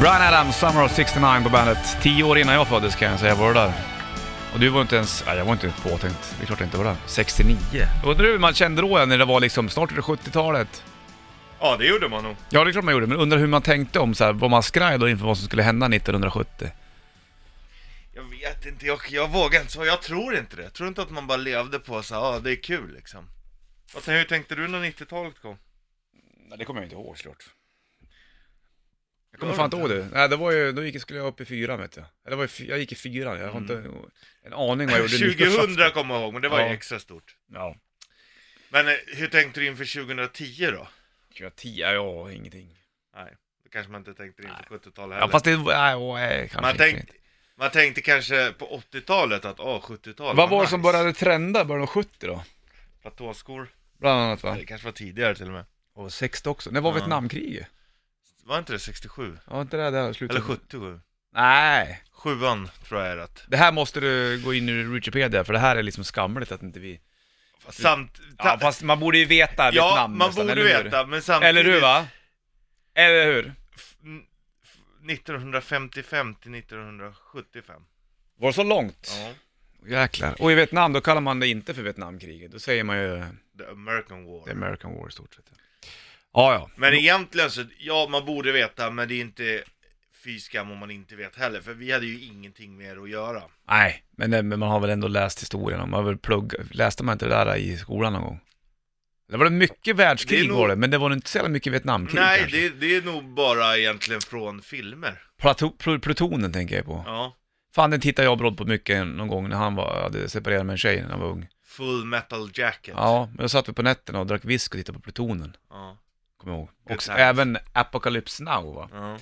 Brian Adams, Summer of 69 på bandet. Tio år innan jag föddes kan jag säga var du där. Och du var inte ens, nej jag var inte ens påtänkt. Det är klart jag inte var där. 69. Undrar hur man kände då när det var liksom, snart är det 70-talet. Ja, det gjorde man nog. Ja det är klart man gjorde, men undrar hur man tänkte om så här, var man skraj då inför vad som skulle hända 1970? Jag vet inte, jag, jag vågar inte så. Jag tror inte det. Jag tror inte att man bara levde på så här, ja, det är kul liksom. Vad hur tänkte du när 90-talet kom? Nej det kommer jag inte ihåg såklart. Jag kommer fan inte ihåg det. Nej det var ju, då gick, skulle jag upp i fyran vet jag. Eller var jag, fy- jag gick i fyran, jag har inte en aning vad jag gjorde 2000 nyårsafton. kommer jag ihåg, men det var ju Ja. extra stort. Ja. Men eh, hur tänkte du inför 2010 då? 2010, ja ingenting. Nej, det kanske man inte tänkte inför 70-talet heller. Ja fast det, nej, åh, nej kanske man, inte. tänkte, man tänkte kanske på 80-talet att, åh, 70-talet Vad var det som nice. började trenda början av 70 då? Platåskor, Bland annat va? det kanske var tidigare till och med. Och 60 också. När var Ja. Vietnamkriget? Var inte det 67? Ja, inte det där slutet? Eller 77? Nej! Sjuan tror jag är rätt. Det här måste du gå in i Wikipedia för det här är liksom skamligt att inte vi... Samt... Ja, fast man borde ju veta ja, Vietnam man nästan, borde eller hur? veta, men samtidigt... Eller hur va? Eller hur? f- n- f- 1955 till 1975. Var det så långt? Ja. Jäklar. Och i Vietnam, då kallar man det inte för Vietnamkriget. Då säger man ju The American War. the American War i stort sett. Ja, ja. Men egentligen så, ja man borde veta, men det är inte fy skam om man inte vet heller, för vi hade ju ingenting mer att göra. Nej, men, det- men man har väl ändå läst historien. om- Man har väl pluggat. Läste man inte det där i skolan någon gång? Det var det mycket världskrig Det är nog- var det, men det var nog inte så jävla mycket Vietnamkrig Nej, kanske. det, det är nog bara egentligen från filmer. Plato- pl- plutonen tänker jag på. Ja. Fan, den tittade jag och Brodd på mycket någon gång när han var, hade separerat med en tjej när han var ung. Full metal jacket. Ja, men då satt vi på nätterna och drack whisky och tittade på plutonen. Ja. Kommer jag ihåg. Good Och times. även Apocalypse Now va? ja.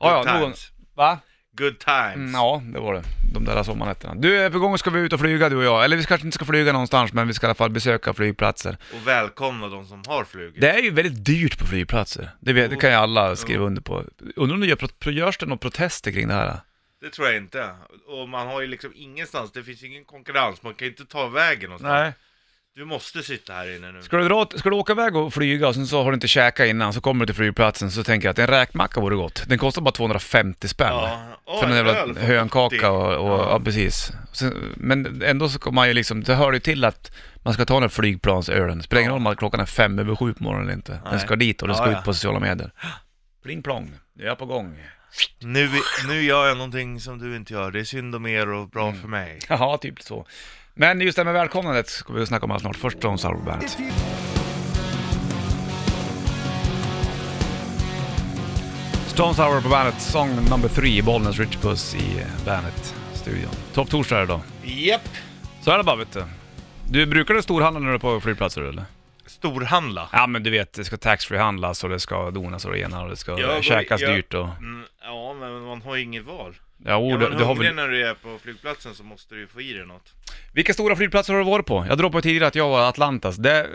Ja, Good ja, någon... times. Va? Good times. Mm, ja, det var det. De där sommarnätterna. Du, är på gång ska vi ut och flyga du och jag. Eller vi kanske inte ska flyga någonstans, men vi ska i alla fall besöka flygplatser. Och välkomna de som har flugit. Det är ju väldigt dyrt på flygplatser. Det, vet, det kan ju alla skriva under på. Undrar om det gör, pro- görs det några protester kring det här? Det tror jag inte. Och man har ju liksom ingenstans, det finns ju ingen konkurrens, man kan ju inte ta vägen någonstans. Du måste sitta här inne nu. Ska du, dra, ska du åka iväg och flyga och sen så har du inte käkat innan, så kommer du till flygplatsen så tänker jag att en räkmacka vore gott. Den kostar bara 250 spänn. Åh, För en en öl jävla för hönkaka 80. och, och ja. precis. Sen, men ändå så kommer man ju liksom, det hör ju till att man ska ta den här flygplansölen. Spelar ingen roll om klockan är fem över sju på morgonen eller inte. Den Nej. ska dit och den Ja, ska ja. ut på sociala medier. Pling plong, nu är jag på gång. Nu, nu gör jag någonting som du inte gör, det är synd om er och bra för mig. Ja, typ så. Men just det här med välkomnandet ska vi snacka om alldeles snart. Först Stones Sour Bandet. Stones Hour på bandet, song number three, Bollnäs Rich Puss i bandet-studion. Topp torsdag idag. Japp! Så är det bara vet du. Du brukar du storhandla när du är på flygplatser eller? Storhandla. Ja men du vet, det ska taxfree-handlas och det ska donas och det ena och det ska Jag går- käkas jag- dyrt och... Mm, ja, men man har ju inget val. Ja, Är oh, man du, du har hungrig väl... när du är på flygplatsen så måste du ju få i dig något. Vilka stora flygplatser har du varit på? Jag droppade tidigare att jag var Atlantas. Det,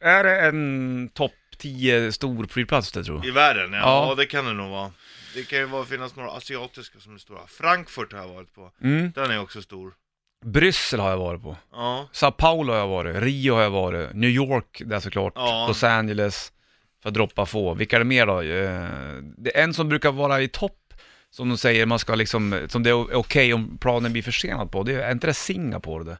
Är det en topp 10 stor flygplats det tror I jag? världen, ja, Ja. ja. det kan det nog vara. Det kan ju vara, finnas några asiatiska som är stora. Frankfurt har jag varit på. Mm. Den är också stor. Bryssel har jag varit på. Ja, Sao Paulo har jag varit. Rio har jag varit. New York där såklart. Ja. Los Angeles. För att droppa få. Vilka är det mer då? Eh, Det är en som brukar vara i topp. Som de säger, man ska liksom, som det är okej om planen blir försenad på. Det är, är inte det Singapore det?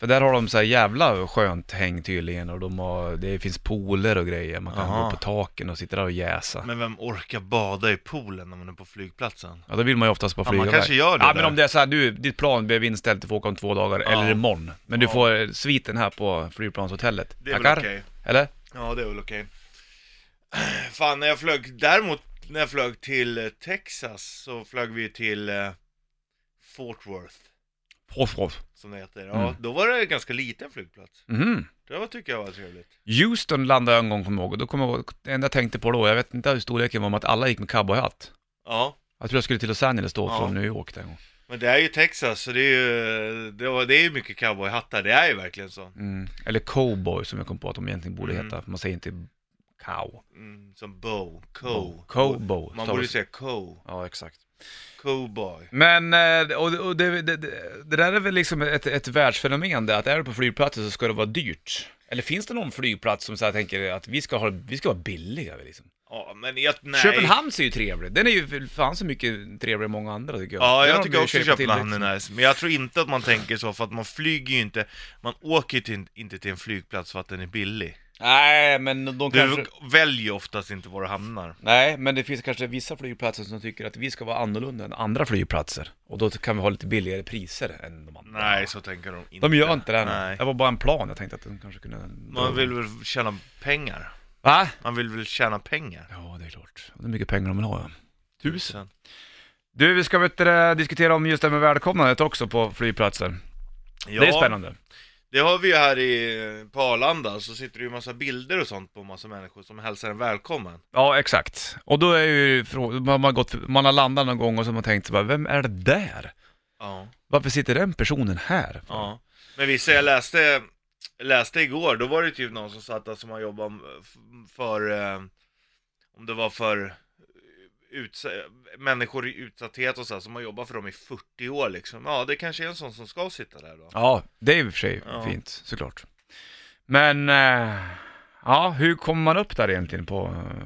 För där har de så här jävla skönt häng tydligen och de har, det finns pooler och grejer. Man kan Aha. gå på taken och sitta där och jäsa. men vem orkar bada i poolen när man är på flygplatsen? Ja, då vill man ju oftast bara Ja, flyga man kanske iväg. gör det Ja, där. men om det är så här, du, ditt plan blev inställt, du får åka om två dagar, Ja. eller imorgon. Men du Ja. får eh, sviten här på flygplanshotellet. Det är väl Tackar. okej. Eller? Ja, det är väl okej. Fan, när jag flög, däremot när jag flög till eh, Texas så flög vi till eh, Fort Worth, Hoff, hoff. som det heter. Ja, Mm. då var det en ganska liten flygplats. Mhm. Det var, tycker jag var trevligt. Houston landade jag en gång, kommer jag ihåg. Då kommer jag ihåg, det enda jag tänkte på då, jag vet inte hur storleken var, men att alla gick med cowboyhatt. Ja, Jag tror jag skulle till Los Angeles då, Ja. från New York den gången. men det är ju Texas, så det är ju, det, var, det är ju mycket cowboyhattar, det är ju verkligen så. Mm. Eller cowboy, som jag kom på att de egentligen borde Mm. heta, för man säger inte cow. Mm, som bow, co. Cowboy. Man borde ju säga co, Ja, exakt. cowboy. Men, eh, och, och det, det, det, det där är väl liksom ett, ett världsfenomen det att är du på flygplatser så ska det vara dyrt. Eller finns det någon flygplats som så här tänker att vi ska, ha, vi ska vara billiga? Liksom? Ja, men jag, nej. Köpenhamn är ju trevlig. Den är ju för fan så mycket trevligare än många andra tycker jag. Ja, Den jag har de tycker ju också shapat till Köpenhamn liksom. är nice, men jag tror inte att man tänker så för att man flyger ju inte, man åker ju till, inte till en flygplats för att den är billig. Nej, men de Du kanske... väljer ju oftast inte var du hamnar. Nej, men det finns kanske vissa flygplatser som tycker att vi ska vara annorlunda än andra flygplatser. Och då kan vi ha lite billigare priser än de andra. Nej, så tänker de inte. De gör inte det. Nej. Nej. Det var bara en plan, jag tänkte att de kanske kunde... Man vill väl tjäna pengar? Va? Man vill väl tjäna pengar? Ja, det är klart. Det är mycket pengar de vill ha, ja. Tusen. Du, vi ska vet, du det, diskutera om just det med välkomnandet också på flygplatser. Ja, Det är spännande. Det har vi ju här i, på Arlanda, så sitter det ju massa bilder och sånt på massa människor som hälsar en välkommen. Ja, exakt. Och då är ju frå- man har, gått, man har landat någon gång och så har man tänkt så bara, vem är det där? Ja. Varför sitter den personen här? Ja, men vissa jag läste, läste igår, då var det typ någon som satt där som har jobbat om- f- för, eh, om det var för uts människor i utsatthet och så här, som har jobbat för dem i 40 år liksom. Ja, det kanske är en sån som ska sitta där då. Ja, det är i och för sig Ja. fint såklart. Men, eh, ja, hur kommer man upp där egentligen på, eh,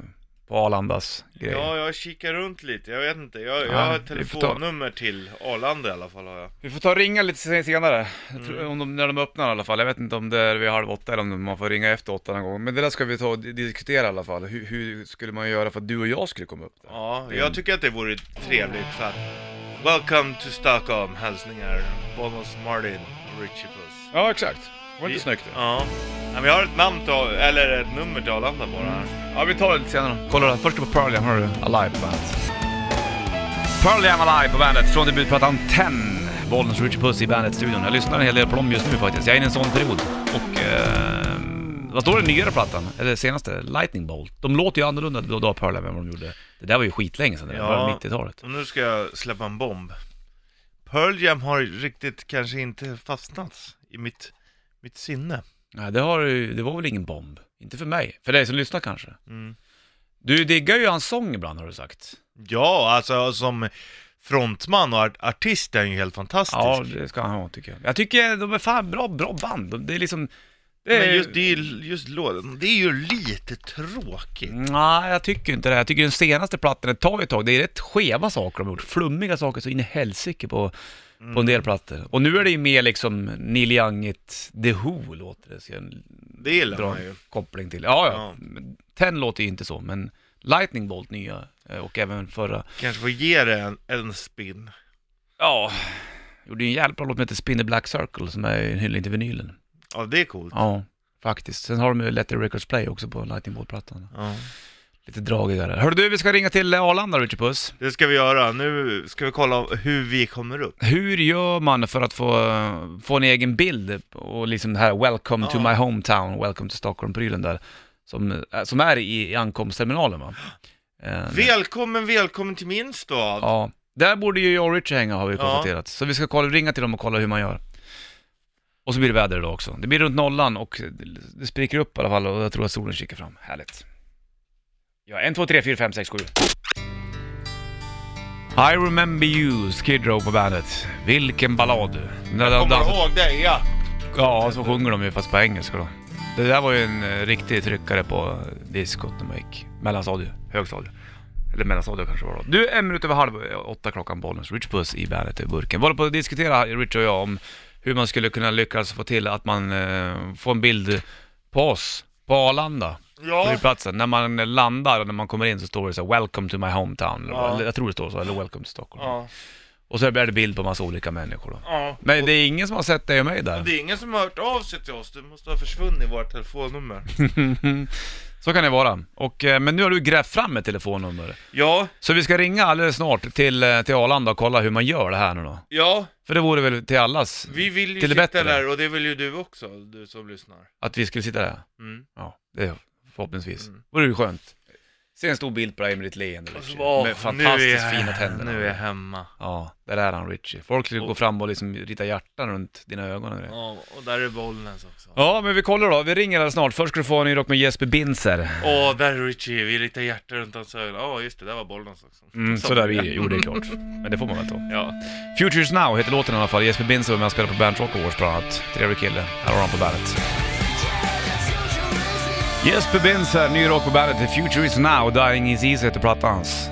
på Arlandas grej? Ja, jag kikar runt lite, jag vet inte. Jag, jag Ja, har ett vi får ta- telefonnummer till Arlanda i alla fall har jag. Vi får ta och ringa lite sen- senare, Jag Mm. tror- om de, när de öppnar i alla fall. Jag vet inte om det är vid halv åtta eller om man får ringa efter åtta någon gång. Men det där ska vi ta och di- diskutera i alla fall. Hur, hur skulle man göra för att du och jag skulle komma upp där? Ja, jag tycker att det vore trevligt för att Welcome to Stockholm, hälsningar Bonus Martin Richie Puss. Ja, exakt. Var inte Vi- snyggt det? Ja. Nej, men jag har ett namn till, eller ett nummer till Arlanda bara här. Ja, vi tar det lite senare. Kolla då. Först på Pearl Jam, hör du? Alive på bandet. Pearl Jam Alive på bandet från debutplattan 10. Bollnäs Richie Puss i bandet-studion. Jag lyssnar en hel del på dem just nu faktiskt. Jag är inne i en sån period. Och... Eh, vad står det nyare plattan? Eller senaste? Lightning Bolt. De låter ju annorlunda då, då Pearl Jam än vad de gjorde. Det där var ju skitlänge sedan. Det Ja. var 90-talet. Och nu ska jag släppa en bomb. Pearl Jam har riktigt kanske inte fastnat i mitt, mitt sinne. Nej, det, har, ju- det var väl ingen bomb. Inte för mig. För dig som lyssnar kanske. Mm. Du diggar ju hans sång ibland har du sagt. Ja, alltså som frontman och art- artist är han ju helt fantastisk. Ja, det ska han ha tycker jag. Jag tycker de är fan bra, bra band. De- Det är liksom... Det är... Men just, det är, ju- just låten, det är ju lite tråkigt. Nej, jag tycker inte det. Jag tycker den senaste plattan, det tar ju ett tag, det är rätt skeva saker de har gjort. Flummiga saker så in i helsike på, på en del Mm. plattor. Och nu är det ju mer liksom Neil Youngigt, The Who låter det. Så jag Det gillar drar man en ju. koppling till. Ja, Ja. ja. Men Ten låter ju inte så, men Lightning Bolt nya eh, och även förra. Kanske får ge det en, en spin. Ja, gjorde ju en jävligt bra låt som heter Spin the Black Circle som är en hyllning till vinylen. Ja, det är coolt. Ja, Typ. faktiskt. Sen har de ju Let the Records Play också på Lightning Bolt-plattan. Ja. Lite dragigare. Hörru du, vi ska ringa till eh, Arlanda, Richard Puss. Det ska vi göra. Nu ska vi kolla hur vi kommer upp. Hur gör man för att få, eh, få en egen bild och liksom det här “Welcome to Ja. my hometown, welcome to Stockholm”-prylen där, som, eh, som är i, i ankomstterminalen va? Eh, Välkommen, välkommen till min stad! Ja, där borde ju jag och Richie hänga har vi Ja. konstaterat. Så vi ska kolla, ringa till dem och kolla hur man gör. Och så blir det väder idag också. Det blir runt nollan och det- det spricker upp i alla fall och jag tror att solen kikar fram. Härligt. Ja, en, två, tre, fyra, fem, sex, sju. I remember you, Skid Row på bandet. Vilken ballad du. När de Kommer dansar- du ihåg det? Ja! Ja, så sjunger de ju fast på engelska då. Det där var ju en eh, riktig tryckare på diskot när man gick mellanstadiet, högstadiet. Eller mellanstadiet kanske var då. Du, en minut över halv åtta klockan, Bollnäs. Rich Puss i bandet i burken. Vi håller på att diskutera, Rich och jag, om hur man skulle kunna lyckas få till att man eh, får en bild på oss, på Arlanda. Ja, Flygplatsen, när man landar och när man kommer in så står det så här, “Welcome to my hometown”. Ja. Eller, jag tror det står så, eller “Welcome to Stockholm”. ja, Och så blir det bild på massa olika människor då. ja. Men det är ingen som har sett dig och mig där. Och det är ingen som har hört av sig till oss, du måste ha försvunnit vårt telefonnummer. Mm-hmm. Så kan det vara. Och, eh, men nu har du grävt fram ett telefonnummer. Ja, Så vi ska ringa alldeles snart till, eh, till Arlanda och kolla hur man gör det här nu då. ja, För det vore väl till allas vi vill ju Till det sitta bättre. där och det vill ju du också, du som lyssnar. att vi skulle sitta där? Mm. Ja, det förhoppningsvis. Mm. Vore ju skönt. Se en stor bild på dig med ditt leende Richie. Med nu är fantastiskt jag- fina tänder. Nu är jag hemma. Ja, där är han Richie. Folk skulle gå fram och liksom rita hjärtan runt dina ögon och grejer. Ja, och där är Bollnäs också. Åh, Ja, men vi kollar då. Vi ringer alldeles snart. Först ska du få en ny rock med Jesper Binzer. där är Richie, vi ritar hjärta runt hans ögon. Ja, just det, där var Bollnäs också. Mm, så där blir det. Jo, det är klart. Men det får man väl ta. Ja. Futures Now heter låten i alla fall. Jesper Binzer var med och spelade på Bernt Rock Awards bland annat. Trevlig kille. Här har han på bandet. That's usual, isn't it? Jesper Binz här, ny rock på bandet. The future is now, dying is easy heter plattans.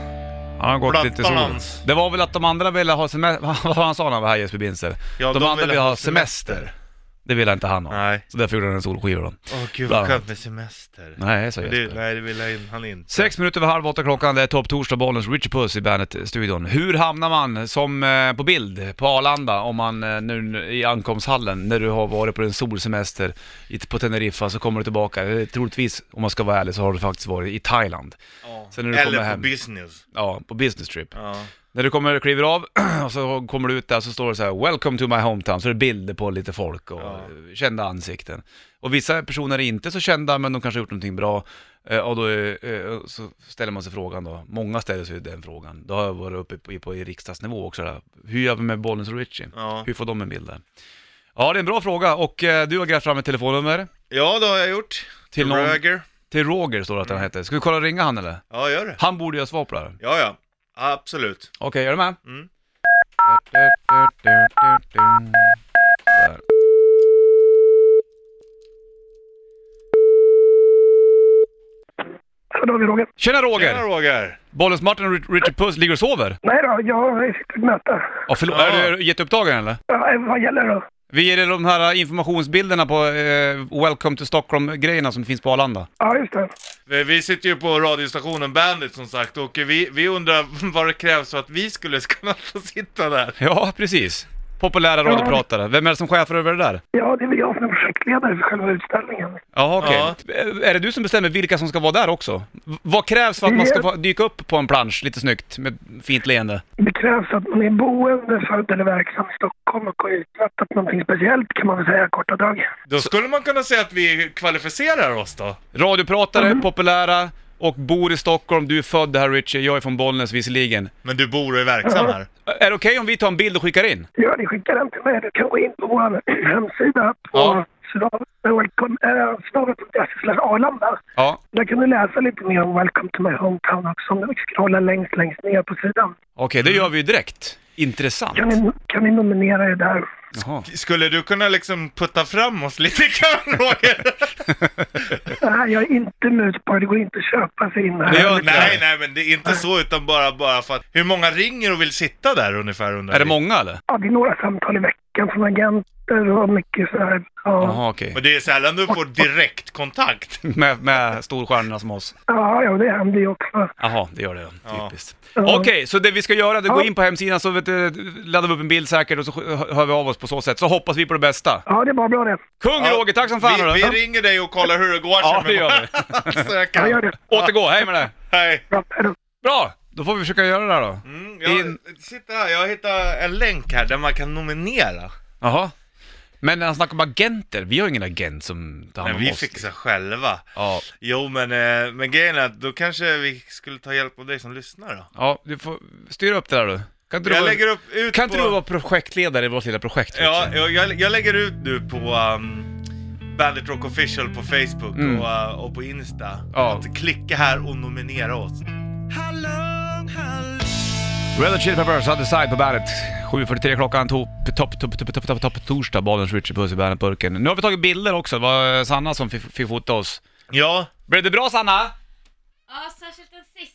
Han har gått lite så. Plattans. Det var väl att de andra ville ha semester, vad var han sa när han var här Jesper Binzer? Ja, de, de andra ville ville ha ha semester. semester. Det ville inte han ha. Nej. Så därför gjorde han en soloskiva då. Åh gud Bland annat. vad skönt med semester. Nej, sa Men Jesper. det, nej, det vill han- han inte. Sex minuter över halv åtta klockan, det är Topp Torsdag, Bollens Richie Puss i Bandet-studion. Hur hamnar man som eh, på bild på Arlanda om man eh, nu nu i ankomsthallen när du har varit på en solsemester i, på Teneriffa så kommer du tillbaka, Eh, troligtvis om man ska vara ärlig så har du faktiskt varit i Thailand. Ja. Sen när du Eller kommer på hem. business. Ja, på business trip. Ja. När du kommer och kliver av och så kommer du ut där så står det så här “Welcome to my hometown” så är det bilder på lite folk och Ja. eh, kända ansikten. Och vissa personer är inte så kända men de kanske har gjort någonting bra Eh, och då eh, eh, så ställer man sig frågan då, många ställer sig den frågan, då har jag varit uppe på, på i riksdagsnivå också där. Hur gör vi med Bollnäs och Ritchie? Ja. Hur får de en bild där? Ja det är en bra fråga och eh, du har grävt fram ett telefonnummer ja, det har jag gjort. Till någon- Roger. till Roger står det att Mm. han heter. Ska vi kolla och ringa han eller? Ja, gör det. Han borde ju ha svar på det här. Ja, ja. Absolut. Okej, är du med? Mm. Där. Då har vi Roger. Tjena Roger! Tjena Roger! Bollens Martin och Rich- Richard Puss ligger och sover? Nej då, jag sitter i ett möte. Ja, förlåt. Ja. Är du jätteupptagen eller? Ja, eh, vad gäller det då? Vi ger dig de här informationsbilderna på eh, Welcome to Stockholm-grejerna som finns på Arlanda. Ja, just det. Vi vi sitter ju på radiostationen Bandit som sagt och vi, vi undrar vad det krävs för att vi skulle kunna få sitta där. Ja, precis. Populära radiopratare. Vem är det som chefar över det där? Ja, det är väl jag som är projektledare för själva utställningen. Jaha, okej. Eh, Är det du som bestämmer vilka som ska vara där också? V- vad krävs för att man ska få dyka upp på en plansch lite snyggt med fint leende? Det krävs att man är boende, född eller verksam i Stockholm och har uträttat någonting speciellt kan man väl säga i korta drag. Då skulle man kunna säga att vi kvalificerar oss då. Radiopratare, Mm. populära och bor i Stockholm. Du är född här Richie, jag är från Bollnäs visserligen. Men du bor och är verksam här. Är det okej om vi tar en bild och skickar in? Gör det, skicka den till mig. Du kan gå in på vår hemsida Ja. på snabel.se Arlanda. Ja. Där kan du läsa lite mer om Welcome to my hometown också om du scrollar längst, längst ner på sidan. Okej, det Mm. gör vi ju direkt. Intressant. Kan ni, kan ni nominera er där? Jaha. Skulle du kunna liksom putta fram oss lite grann Roger? Nej, jag är inte mus på det. Det går inte att köpa sig in här. Det gör- nej, nej men det är inte så utan bara, bara för att hur många ringer och vill sitta där ungefär undrar Är det vi. många eller? Ja, det är några samtal i veckan från agenter och mycket så här. Ja, Jaha, okej. Men det är sällan du får direktkontakt. Med, med storstjärnorna som oss. ja, ja det händer ju också. Jaha, det gör det. Ja. Typiskt. Okej, Ja. så det vi ska göra, det går Ja. in på hemsidan så vet du, laddar vi upp en bild säkert och så hö- hör vi av oss på så sätt. Så hoppas vi på det bästa. Ja, det var bra det. Kung Roger, tack som fan vi, vi hörru. ringer dig och kollar hur det går Ja, sen det gör vi. bara- så jag Ja, kan. gör det. Återgå, hej med dig. Hej. Bra, hej då. Bra, då får vi försöka göra det här då. Mm, jag, In- sitter här, jag hittar en länk här där man kan nominera. Jaha. Men när han snackar om agenter, vi har ju ingen agent som tar hand Men om vi oss. fixar själva. Ja, Jo men, eh, men grejen är att då kanske vi skulle ta hjälp av dig som lyssnar då. ja, du får styra upp det där du. Kan inte du, Jag vara- lägger upp ut kan på... inte du vara projektledare i vårt lilla projekt? Ja, Richard? jag, jag, jag lägger ut nu på um, Bandit Rock Official på Facebook Mm. och, eh, och på Insta. Ja. Att klicka här och nominera oss. Red Hot Chili Peppers, Other Side på bandet. 7.43 klockan, topp, topp, topp, topp, topp, topp, topp, torsdag. Bollens Richard Puss i bandet-burken. Nu har vi tagit bilder också, det var Sanna som fick, fick fota oss. Ja, Blev det bra Sanna? Ja, särskilt den sista.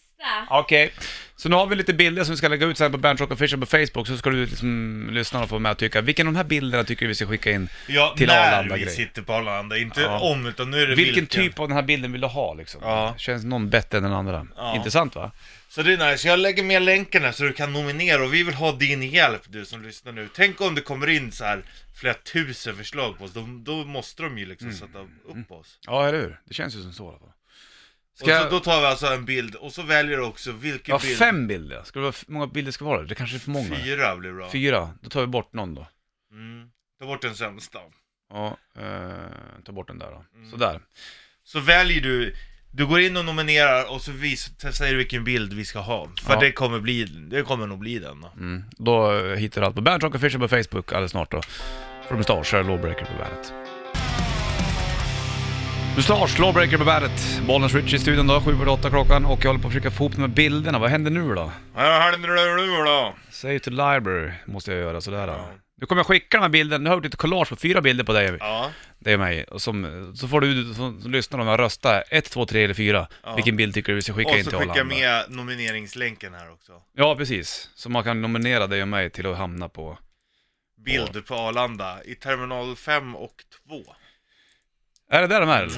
Okej. Så nu har vi lite bilder som vi ska lägga ut sen på Bandit Rock Official på Facebook, så ska du liksom lyssna och få med och tycka. Vilken av de här bilderna tycker du vi ska skicka in? ja Till när Arlanda vi grej. sitter på Arlanda. Inte Ja. om, utan nu är det Vilken, typ av den här bilden vill du ha liksom? Ja. Känns någon bättre än den andra? Ja. Intressant va? Så det är nice, jag lägger med länken här så du kan nominera och vi vill ha din hjälp du som lyssnar nu. Tänk om det kommer in så här flera tusen förslag på oss, då, då måste de ju liksom Mm. sätta upp oss. Ja, eller hur? Det känns ju som så i alla fall. Och Ska så, jag... då tar vi alltså en bild och så väljer du också vilken Ja, bild. fem bilder. Ska det vara, hur många bilder ska det vara? Det kanske är för många. Fyra blir bra. Fyra, då tar vi bort någon då. Mm. Ta bort den sämsta. Ja, eh, ta bort den där då. Mm. Sådär. Så väljer du, du går in och nominerar och så vis, så säger du vilken bild vi ska ha. För Ja. det kommer bli, det kommer nog bli den då. Mm. Då eh, hittar du allt på Bandit Rock Official på Facebook alldeles snart då. Från Mustasch, här är Lawbreaker på bandet. Mustasch, Lawbreaker på bandet. Bollnäs Rich i studion då, 7.08 klockan och jag håller på att försöka få ihop de här bilderna. Vad händer nu då? Vad händer nu då? Save to library måste jag göra sådär. då. Nu kommer jag skicka den här bilden, nu har jag gjort ett collage på fyra bilder på dig, Ja, dig och mig. Och som, så får du som, som lyssnar om jag rösta ett, två, tre eller fyra. Ja. Vilken bild tycker du vi ska skicka och in så till skicka Arlanda? med nomineringslänken här också. Ja, precis. Så man kan nominera dig och mig till att hamna på... Bild på Arlanda i terminal 5 och 2. Är det där de är eller?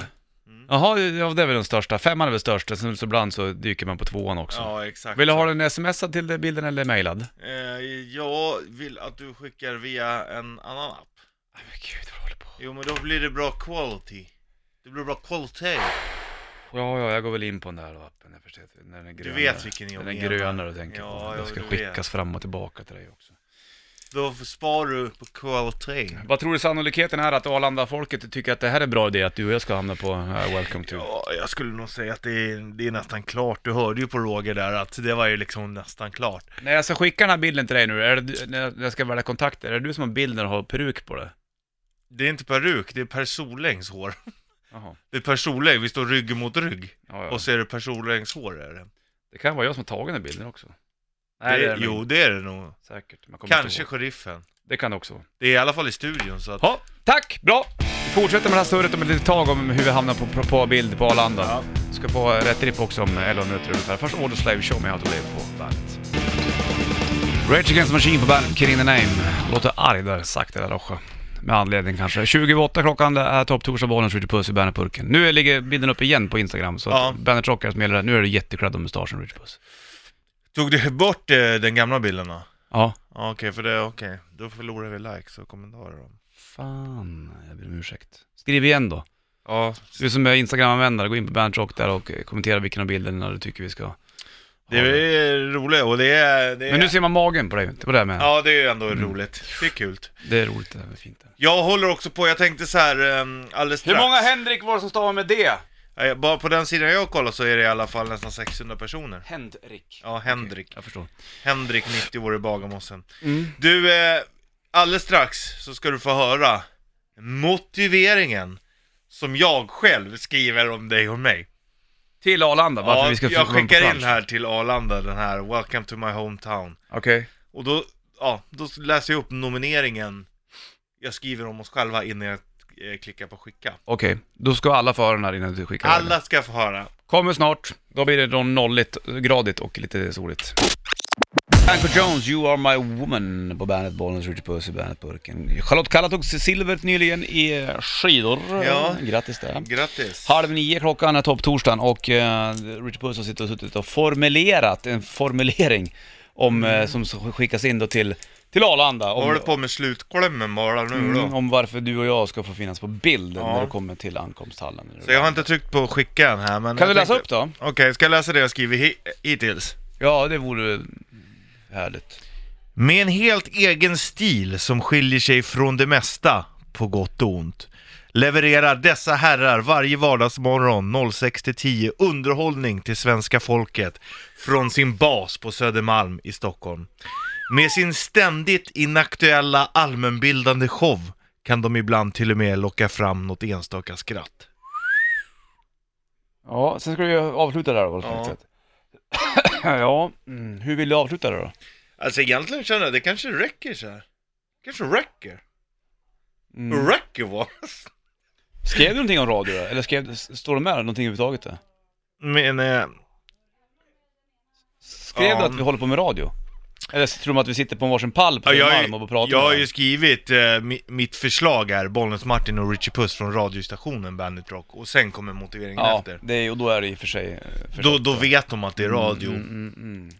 Mm. Jaha, ja, det är väl den största. Femman är väl störst, sen så ibland så dyker man på tvåan också. Ja, exakt. Vill du ha den smsad till bilden eller mejlad? Eh, jag vill att du skickar via en annan app. Nej men gud, vad håller på? Jo, men då blir det bra quality. Det blir bra quality. Ja, ja, jag går väl in på den där appen. Jag förstår, när den är grönare. vet vilken jag Den är menar. grönare, tänker jag Ja, på. ja, Den ska du skickas fram och tillbaka till dig också. Då sparar du på quality. Vad tror du sannolikheten är att Arlanda-folket tycker att det här är bra idé, att du och jag ska hamna på eh, Welcome to? Ja, jag skulle nog säga att det är, det är nästan klart. Du hörde ju på Roger där att det var ju liksom nästan klart. När jag ska skicka den här bilden till dig nu, är det, du- när jag- när jag ska välja kontakter, är det du som har bilden och har peruk på det? Det är inte peruk, det är Per Solängs hår. Jaha. Det är Per Soläng, vi står rygg mot rygg. Ja, ja. Och så är det Per Solängs hår är det. Det kan vara jag som har tagit den här bilden också. det, Nej, det är det Jo, nog. det är det nog. Säkert. Man kommer inte Kanske ihåg. sheriffen. Det kan det också vara. Det är i alla fall i studion så att... Ja, tack! Bra! Vi fortsätter med det här surret om ett litet tag om hur vi hamnar på, på, på bild på Arlanda. Ja. Ska få rätt ripp också om 11 minuter ungefär. Först Audio Slave Show med How to Live på bandet. Rage Against the Machine på bandet, Killing the Name. Låter arg där, sagt det där också. Med anledning kanske. 20.08 klockan, det är Topp Torsdag-bollen, skjuter puss i Bandet-purken. Nu ligger bilden upp igen på Instagram, så Ja. ja. Bandet Rockare som gäller det. Nu är det jättekredd och mustaschen, Richard Puss. Tog du bort eh, den gamla bilden då? Ja. Ja, okej, för det, okej. Då förlorar vi likes och kommentarer då. Fan, jag ber om ursäkt. Skriv igen då. Ja, Du som är Instagram-användare, gå in på Bandrock där och eh, kommentera vilken av bilderna du tycker vi ska ha. det är eh, roligt och det är... Det är... Men nu ser Mm. man magen på dig, det var det jag menade. Ja, det är ju ändå roligt. Det är kul. Det är roligt, det där är fint. Jag håller också på, jag tänkte så här ehm, alldeles strax. Henrik var det som stavade med det? Eh, Bara på den sidan jag kollar så är det i alla fall nästan 600 personer. Henrik. Ja, Henrik. Jag förstår. Henrik, 90 år i Bagarmossen. Mm. Du, eh, alldeles strax så ska du få höra motiveringen som jag själv skriver om dig och mig. Till Arlanda, varför ja, vi ska få jag komma på skickar in plats. här till Arlanda, den här 'Welcome to my hometown' Okej. Och då, ja, då läser jag upp nomineringen jag skriver om oss själva innan jag eh, klickar på skicka. Okej, då ska alla få höra den här innan du skickar den. Alla ska få höra. Kommer snart, då blir det då nolligt, gradigt och lite soligt. Anko Jones, You Are My Woman på bandet Bollnäs, Richard Puss i Bandet-burken. Charlotte Kalla tog silveret nyligen i eh, skidor. Ja. Grattis där. Grattis. Halv nio klockan är topptorsdagen och eh, Richard Puss har suttit och, suttit och formulerat en formulering om, eh, som så skickas in då till, till Arlanda. Mm. Vad Om, håller du på med slutklämmen bara nu då? mm, om varför du och jag ska få finnas på bild Ja. när du kommer till ankomsthallen. Så jag har inte tryckt på skicka än här men... Kan du jag läsa upp tänkte- då? Okej, ska jag läsa det jag skrivit hi- hittills? Ja, det vore härligt. Med en helt egen stil som skiljer sig från det mesta, på gott och ont, levererar dessa herrar varje vardagsmorgon 06-10 underhållning till svenska folket från sin bas på Södermalm i Stockholm. Med sin ständigt inaktuella allmänbildande show kan de ibland till och med locka fram något enstaka skratt. Ja, sen ska du ju avsluta där då på Ja. något sätt. ja, mm, hur vill du avsluta det då? Alltså egentligen känner jag, det kanske räcker så här. Kanske räcker. Mm. Räcker va? Skrev du någonting om radio då? Eller skrev, s- står det med någonting överhuvudtaget? Då? Men, eh, Skrev Ja, du att men- vi håller på med radio? Eller så tror de att vi sitter på en varsin pall på Ja, jag, har Södermalm ju- och pratar jag har med ju varandra? skrivit eh, mi, mitt förslag är Bollnäs Martin och Richie Puss från radiostationen Bandit Rock och sen kommer motiveringen Ja, efter. det är, och då är det i och för sig... eh, förstått, Då, då vet de att det är radio. Mm, mm, mm.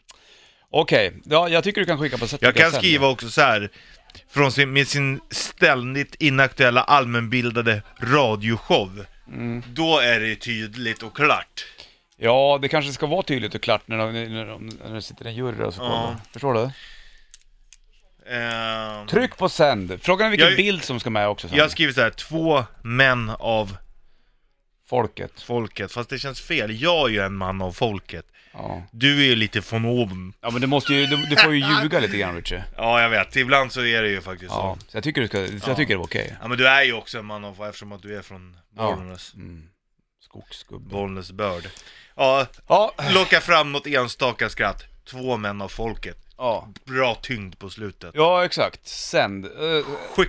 Okej, ja, jag tycker du kan skicka på sätt Jag tycker kan sen. skriva också så här från sin, med sin ständigt inaktuella allmänbildade radioshow. Mm. Då är det tydligt och klart. Ja, det kanske ska vara tydligt och klart när, de, när, de, när det sitter en jury och så Ja. kollar. Förstår du? Ehm, Tryck på sänd. Frågan är vilken Jag- bild som ska med också sen. jag har skrivit så här, två män av Folket. folket, fast det känns fel. Jag är ju en man av folket. Ja. Du är ju lite från oben. Ja men du måste ju, du, du får ju ljuga lite grann Richie. Ja, jag vet. Ibland så är det ju faktiskt så. Ja, så jag tycker du ska, så jag tycker det var okej. Ja men du är ju också en man av eftersom att du är från Bollnäs. Mm. Skogsgubbe. Bollnäs börd. Ja, Ja, locka fram något enstaka skratt. Två män av folket. Ja, Bra tyngd på slutet. ja exakt. Sänd. Eh, Okej,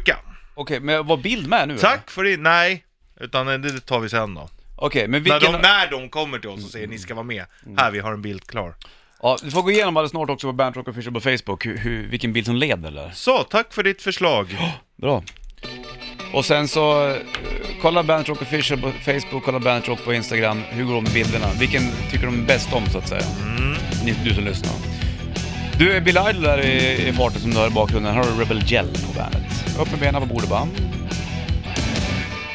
Skicka! men var bild med nu eller? Tack för det, nej. Utan eh, det tar vi sen då. Okej, men När vilken... de, när de kommer till oss och säger ni ska vara med, här vi har en bild klar. Ja, vi får gå igenom alldeles snart också på Bernt Rock Official på Facebook, hur, hur, vilken bild som leder eller? Så, tack för ditt förslag. Bra. Och sen så, eh, kolla Bernt Rock Official på Facebook, kolla Bernt Rock på Instagram. Hur går det med bilderna? Vilken tycker de bäst om så att säga? Ni, du som lyssnar. Du, är Bill Idol där i, i farten som du hör i bakgrunden. Här har du Rebel Gel på bandet. Upp med benen på bordet bara.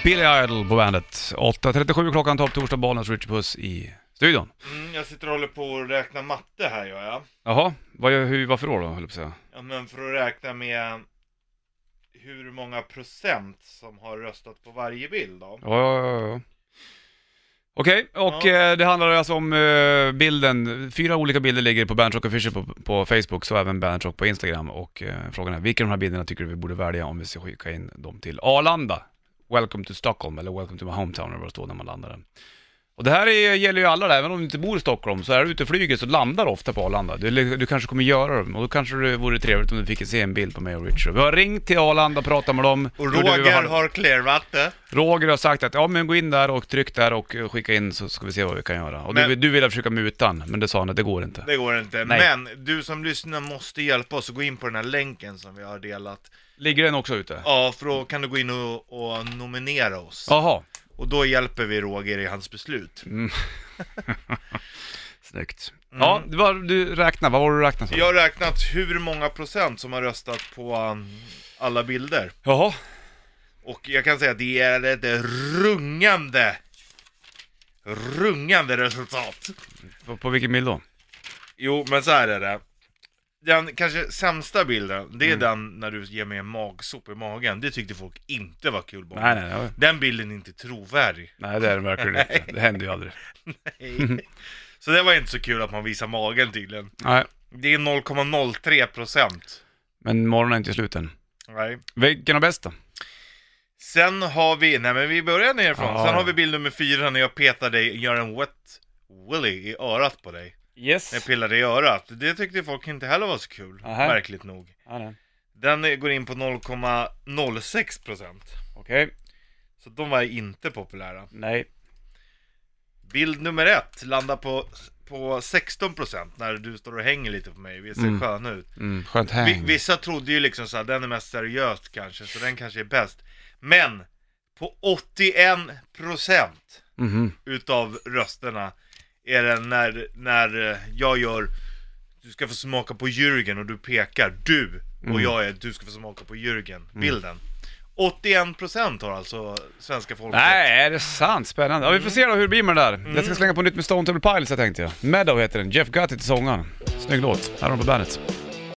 Billy Idol på bandet. 8.37 klockan, topp torsdag, Bollnäs, Richard Puss i studion. Mm, jag sitter och håller på och räknar matte här gör jag. Jaha, vad, gör- hur, varför då då, höll jag på att säga? Ja, men för att räkna med hur många procent som har röstat på varje bild då. Ja, ja, ja, ja. Okej, och Ja. eh, det handlar alltså om eh, bilden. Fyra olika bilder ligger på Bandrock Official på, på Facebook, så även Bandrock på Instagram. Och eh, frågan är, vilka av de här bilderna tycker du vi borde välja om vi ska skicka in dem till Arlanda? Welcome to Stockholm, eller Welcome to my hometown, eller vad det står när man landar den. Och det här är, gäller ju alla där, även om du inte bor i Stockholm, så är du ute och flyger så landar du ofta på Arlanda. Du, du kanske kommer göra dem, och då kanske det vore trevligt om du fick se en bild på mig och Richard. Vi har ringt till Arlanda, pratat med dem. Och Gjorde vi vid Roger halv- har klärvatte. Roger har sagt att ja men gå in där och tryck där och eh, skicka in så ska vi se vad vi kan göra. Och du, Men- du ville försöka muta han, men det sa han att det går inte. Det går inte. Nej. Men du som lyssnar måste hjälpa oss att gå in på den här länken som vi har delat. Ligger den också ute? Ja, för då kan du gå in och, och nominera oss. Jaha, Och då hjälper vi Roger i hans beslut. Mm. snyggt. Mm. Ja, det var, du räknade, vad var det du räknade som? Jag har räknat hur många procent som har röstat på um, alla bilder. Jaha, Och jag kan säga att det är ett rungande, rungande resultat. på, på vilken bild då? Jo, men så här är det. Mm. Den kanske sämsta bilden, det är den när du ger mig en magsop i magen. Det tyckte folk inte var kul. Bara. Nej, nej, nej, Den bilden är inte trovärdig. nej det är det verkligen inte. Det händer ju aldrig. så det var inte så kul att man visar magen tydligen. Nej, Det är 0,03 procent. men morgonen är inte slut än. Nej. Vilken är bäst då? Sen har vi, nej men vi börjar nerifrån. Ja, ja. Sen har vi bild nummer fyra när jag petar dig, gör en wet willy i örat på dig. När jag Yes. pillar dig i örat. Det tyckte folk inte heller var så kul, Aha. märkligt nog. Den eh, går in på 0,06 procent. Okej, Så de var inte populära. nej. Bild nummer ett landar på, på 16% när du står och hänger lite på mig, vi ser Mm. sköna ut. Mm, skönt Vi, häng. vissa trodde ju liksom såhär, den är mest seriöst kanske, så den kanske är bäst. Men på 81% Mhm. utav rösterna är det när, när eh, jag gör du ska få smaka på Jürgen och du pekar du och jag är du ska få smaka på Jürgen bilden. 81% har alltså svenska folket. Nej, är det sant? Spännande. Ja, vi får se då hur det blir med det där. Jag ska slänga på nytt med Stone Temple Pilots här tänkte jag. Meadow heter den, Jeff Gutt heter sångaren. Snygg låt. Här har de på bandet.